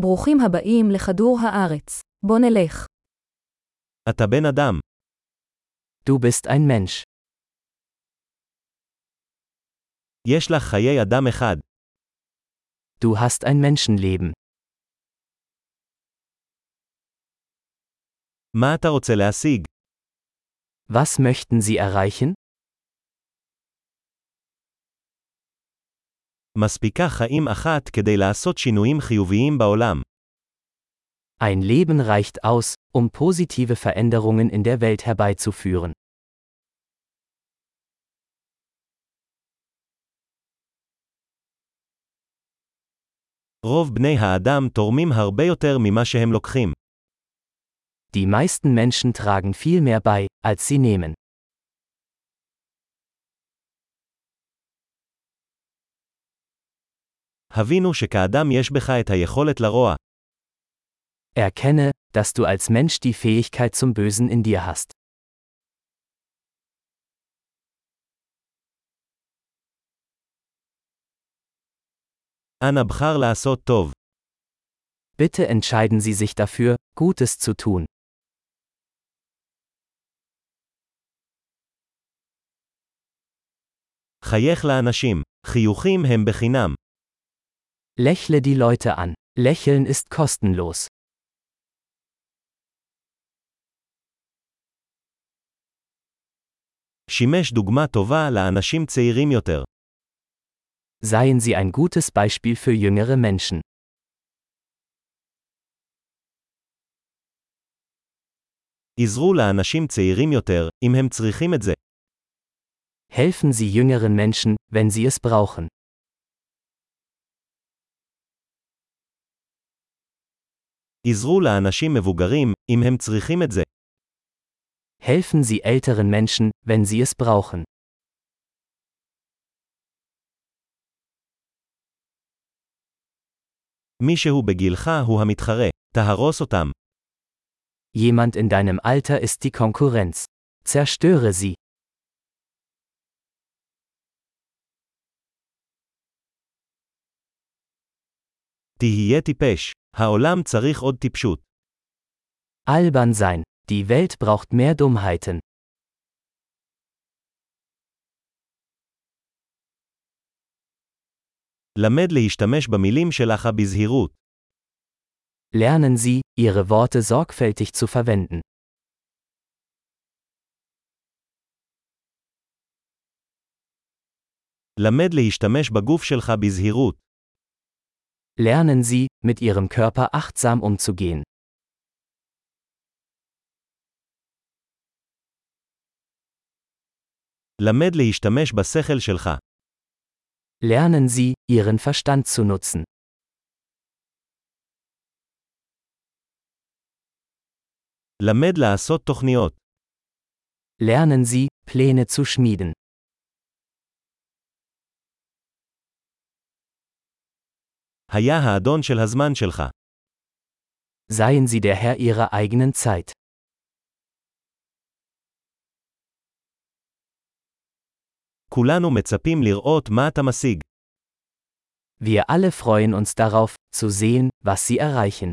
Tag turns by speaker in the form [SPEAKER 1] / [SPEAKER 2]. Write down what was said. [SPEAKER 1] ברוכים הבאים לכדור הארץ. בוא נלך.
[SPEAKER 2] אתה בן אדם.
[SPEAKER 3] Du bist ein Mensch.
[SPEAKER 2] יש לך חיי אדם אחד.
[SPEAKER 3] Du hast ein Menschenleben.
[SPEAKER 2] מה אתה רוצה להשיג?
[SPEAKER 3] Was möchten Sie erreichen?
[SPEAKER 2] מספיקה חיים אחת כדי לעשות שינויים חיוביים בעולם.
[SPEAKER 3] Ein Leben reicht aus, um positive Veränderungen in der Welt herbeizuführen.
[SPEAKER 2] רוב בני האדם תורמים הרבה יותר ממה שהם לוקחים.
[SPEAKER 3] Die meisten Menschen tragen viel mehr bei, als sie nehmen.
[SPEAKER 2] הבינו שכאדם יש בך את היכולת לרוע.
[SPEAKER 3] Erkenne, dass du als Mensch die Fähigkeit zum Bösen in dir hast.
[SPEAKER 2] אנא בחר לעשות טוב.
[SPEAKER 3] Bitte entscheiden Sie sich dafür, Gutes zu tun.
[SPEAKER 2] חייך לאנשים. חיוכים הם בחינם.
[SPEAKER 3] Lächle die Leute an. Lächeln ist kostenlos.
[SPEAKER 2] שימש דוגמה טובה לאנשים צעירים יותר.
[SPEAKER 3] Seien Sie ein gutes Beispiel für jüngere Menschen.
[SPEAKER 2] עזרו לאנשים צעירים יותר, אם הם צריכים את זה.
[SPEAKER 3] Helfen Sie jüngeren Menschen, wenn sie es brauchen.
[SPEAKER 2] עזרו לאנשים מבוגרים, אם הם צריכים את זה.
[SPEAKER 3] Helfen Sie älteren Menschen, wenn sie es brauchen.
[SPEAKER 2] מישהו בגילך הוא המתחרה. תהרוס אותם.
[SPEAKER 3] Jemand in deinem Alter ist die Konkurrenz. Zerstöre sie.
[SPEAKER 2] תהיה טיפש. העולם צריך עוד טיפשות.
[SPEAKER 3] Albern sein. Die Welt braucht mehr Dummheiten.
[SPEAKER 2] למד להשתמש במילים שלך בזהירות.
[SPEAKER 3] Lernen Sie, Ihre Worte sorgfältig zu verwenden.
[SPEAKER 2] למד להשתמש בגוף שלך בזהירות.
[SPEAKER 3] Lernen Sie, mit Ihrem Körper achtsam umzugehen.
[SPEAKER 2] למד להשתמש בשכל שלך.
[SPEAKER 3] Lernen Sie, Ihren Verstand zu nutzen.
[SPEAKER 2] למד לעשות תוכניות.
[SPEAKER 3] Lernen Sie, Pläne zu schmieden.
[SPEAKER 2] היה האדון של הזמן שלך.
[SPEAKER 3] Seien Sie der Herr Ihrer eigenen Zeit.
[SPEAKER 2] כולנו מצפים לראות מה אתה משיג.
[SPEAKER 3] Wir alle freuen uns darauf, zu sehen, was Sie erreichen.